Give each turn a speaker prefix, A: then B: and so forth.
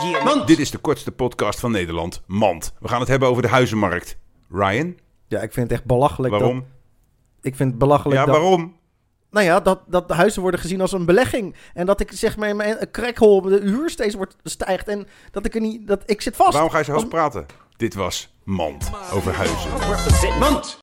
A: hier.
B: Want dit is de kortste podcast van Nederland, Mand. We gaan het hebben over de huizenmarkt. Ryan,
C: Ja, ik vind het echt belachelijk. dat-
B: waarom?
C: ik vind het belachelijk
B: Ja,
C: dat...
B: waarom?
C: Nou ja, dat, dat de huizen worden gezien als een belegging. En dat ik zeg maar in mijn crackhol de huur steeds wordt, stijgt. En dat ik er niet... Dat, ik zit vast.
B: Waarom ga je zo hoog
C: Als-
B: praten? Dit was Mand over huizen.
A: Represent.